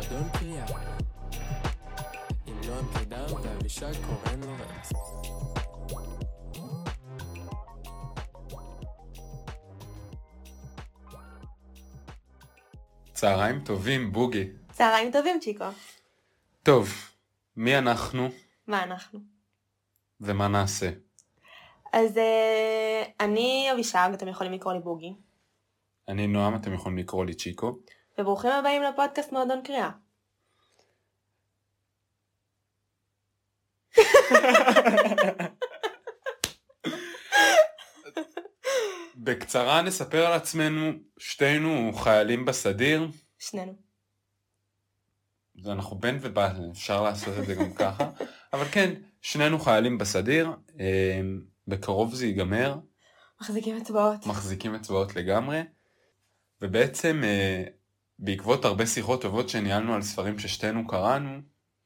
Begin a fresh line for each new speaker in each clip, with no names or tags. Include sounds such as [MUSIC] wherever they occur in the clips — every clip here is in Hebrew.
גדעון קריאף עם נועם קידר ואבישג קורן לורנס
צהריים טובים, בוגי.
צהריים טובים, צ'יקו.
טוב, מי אנחנו
מה אנחנו?
ומה נעשה?
אז אה, אני אבישג, אתם יכולים לקרוא לי בוגי,
אני נועם, אתם יכולים לקרוא לי צ'יקו.
וברוכים הבאים לפודקאסט מועדון קריאה.
בקצרה נספר על עצמנו, שתינו חיילים בסדיר,
שנינו.
אז אנחנו בן ובת, אפשר לעשות את זה גם ככה, אבל כן, שנינו חיילים בסדיר, אה, בקרוב זה ייגמר,
מחזיקים אצבעות.
מחזיקים אצבעות לגמרי, ובעצם אה, בעקבות הרבה שיחות טובות שניהלנו על ספרים ששתינו קראנו,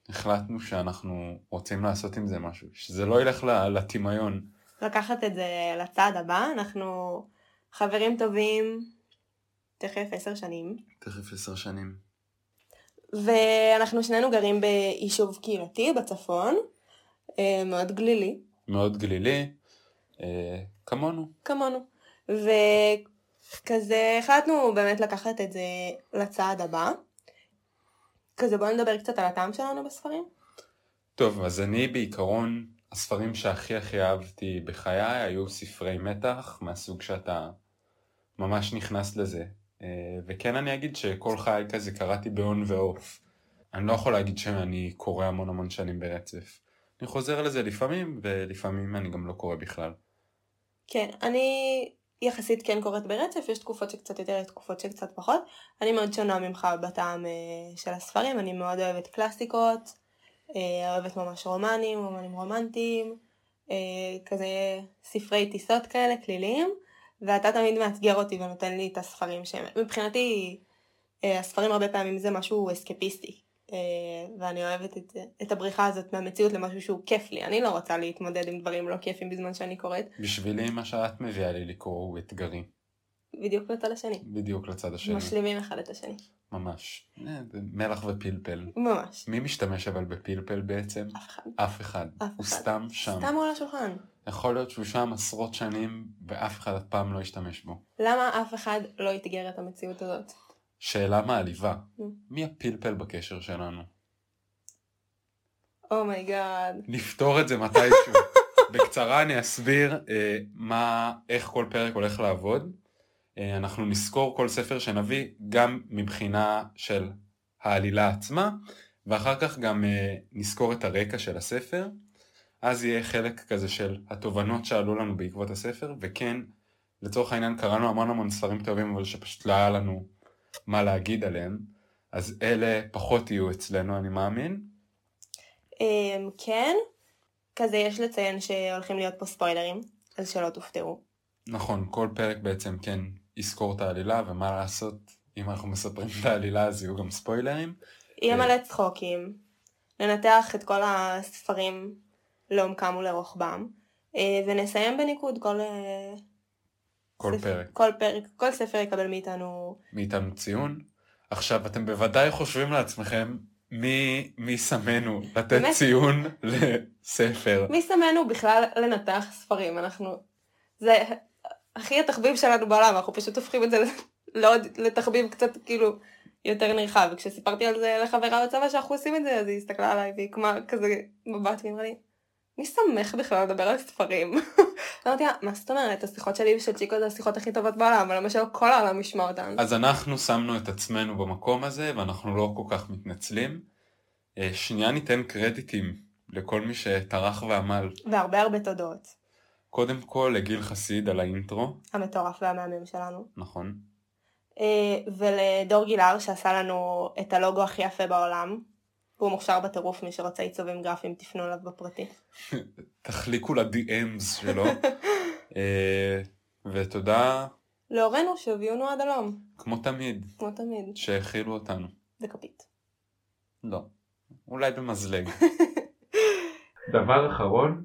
החלטנו שאנחנו רוצים לעשות עם זה משהו, שזה לא ילך ל- לטמיון.
לקחת את זה לצעד הבא, אנחנו חברים טובים תכף עשר שנים,
תכף עשר שנים.
ואנחנו שנינו גרים ביישוב קהילתי בצפון, אה, מאוד גלילי,
מאוד גלילי, אה, כמונו.
כמונו. וכזה החלטנו באמת לקחת את זה לצעד הבא. כזה בואו נדבר קצת על הטעם שלנו בספרים.
טוב, אז אני בעיקרון, הספרים שהכי הכי אהבתי בחיי היו ספרי מתח, מהסוג שאתה ממש נכנס לזה. אה, וכן אני אגיד שכל חיי כזה קראתי בהון ועוף. אני לא יכול להגיד שאני קורא המון המון שנים ברצף. אני חוזר לזה לפעמים, ולפעמים אני גם לא קורא בכלל.
כן, אני יחסית כן קוראת ברצף, יש תקופות שקצת יותר, יש תקופות שקצת פחות. אני מאוד שונה ממך בטעם אה, של הספרים, אני מאוד אוהבת קלאסיקות, אה, אוהבת ממש רומנים, רומנים רומנטיים, אה, כזה ספרי טיסות כאלה, כלילים, ואתה תמיד מאתגר אותי ונותן לי את הספרים שהם... מבחינתי, אה, הספרים הרבה פעמים זה משהו אסקפיסטי. אה, ואני אוהבת את, זה- את הבריחה הזאת מהמציאות למשהו שהוא כיף לי. אני לא רוצה להתמודד עם דברים לא כיפים בזמן שאני קוראת,
בשבילי מה שאת מביאה לי לקרוא הוא אתגרי,
בדיוק בצד השני.
בדיוק לצד השני.
משלימים אחד את השני.
ממש. אה, מלח ופלפל.
ממש.
מי משתמש אבל בפלפל בעצם?
אף אחד.
אף אחד.
אף
הוא
אחד.
סתם שם.
סתם הוא על השולחן.
יכול להיות שהוא שם עשרות שנים ואף אחד אף פעם לא השתמש בו.
למה אף אחד לא אתגר את המציאות הזאת?
שאלה מעליבה,
Mm.
מי הפלפל בקשר שלנו?
אומייגאד.
נפתור את זה מתישהו. בקצרה אני אסביר אה, מה, איך כל פרק הולך לעבוד. אה, אנחנו נסקור כל ספר שנביא גם מבחינה של העלילה עצמה, ואחר כך גם אה, נסקור את הרקע של הספר. אז יהיה חלק כזה של התובנות שעלו לנו בעקבות הספר, וכן, לצורך העניין קראנו המון המון ספרים טובים, אבל שפשוט לא היה לנו מה להגיד עליהם. אז אלה פחות יהיו אצלנו, אני מאמין.
אמ, כן, כזה יש לציין שהולכים להיות פה ספוילרים, אז שלא תופתעו.
נכון, כל פרק בעצם כן יזכור את העלילה, ומה לעשות, אם אנחנו מספרים את העלילה אז יהיו גם ספוילרים.
יהיה
אה.
מלא צחוקים. ננתח את כל הספרים לעומקם ולרוחבם. אה, ונסיים בניקוד כל... אה,
כל
ספר-
פרק.
כל פרק, כל ספר יקבל מאיתנו
מאיתנו ציון. עכשיו, אתם בוודאי חושבים לעצמכם, מי, מי שמנו לתת
באמת?
ציון לספר?
מי שמנו בכלל לנתח ספרים? אנחנו... זה הכי התחביב שלנו בעולם, אנחנו פשוט הופכים את זה [LAUGHS] לעוד, לתחביב קצת כאילו יותר נרחב. וכשסיפרתי על זה לחברה בצבא שאנחנו עושים את זה, אז היא הסתכלה עליי והיא קמה כזה מבט והיא אמרה לי, מי שמח בכלל לדבר על ספרים? [LAUGHS] אמרתי לה, מה זאת אומרת? השיחות שלי ושל צ'יקו זה השיחות הכי טובות בעולם, אבל למה שלא כל העולם ישמע אותן?
אז אנחנו שמנו את עצמנו במקום הזה, ואנחנו לא כל כך מתנצלים. אה, שנייה ניתן קרדיטים לכל מי שטרח ועמל.
והרבה הרבה תודות.
קודם כל לגיל חסיד על האינטרו,
המטורף והמהמם שלנו.
נכון?
אה, ולדור גילהר שעשה לנו את הלוגו הכי יפה בעולם. והוא מוכשר בטירוף, מי שרוצה עיצובים גרפיים תפנו אליו בפרטי.
תחליקו ל-DMs [LAUGHS] שלו. אה, ותודה,
להורינו שהביאונו עד הלום,
כמו תמיד,
כמו תמיד,
שהכילו אותנו.
בכפית.
לא. אולי במזלג. [LAUGHS] דבר אחרון,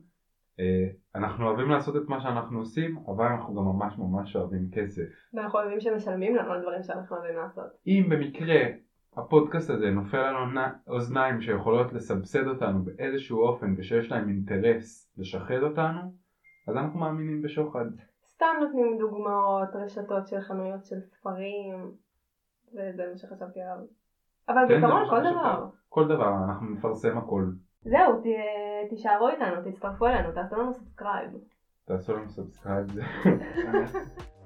אה, אנחנו אוהבים לעשות את מה שאנחנו עושים, אבל אנחנו גם ממש ממש אוהבים כסף.
ואנחנו אוהבים שמשלמים לנו על דברים שאנחנו אוהבים לעשות.
אם במקרה הפודקאסט הזה נופל על אונה- אוזניים שיכולות לסבסד אותנו באיזשהו אופן ושיש להם אינטרס לשחד אותנו, אז אנחנו מאמינים בשוחד.
סתם נותנים דוגמאות, רשתות של חנויות של ספרים, וזה מה שחשבתי עליו. אבל
כן,
בעיקרון
זה מה
כל
שחשבתי.
דבר.
כל דבר, אנחנו נפרסם הכל.
זהו, ת- תישארו איתנו, תצטרפו אלינו, תעשו לנו סאבסקרייב.
תעשו לנו סאבסקרייב.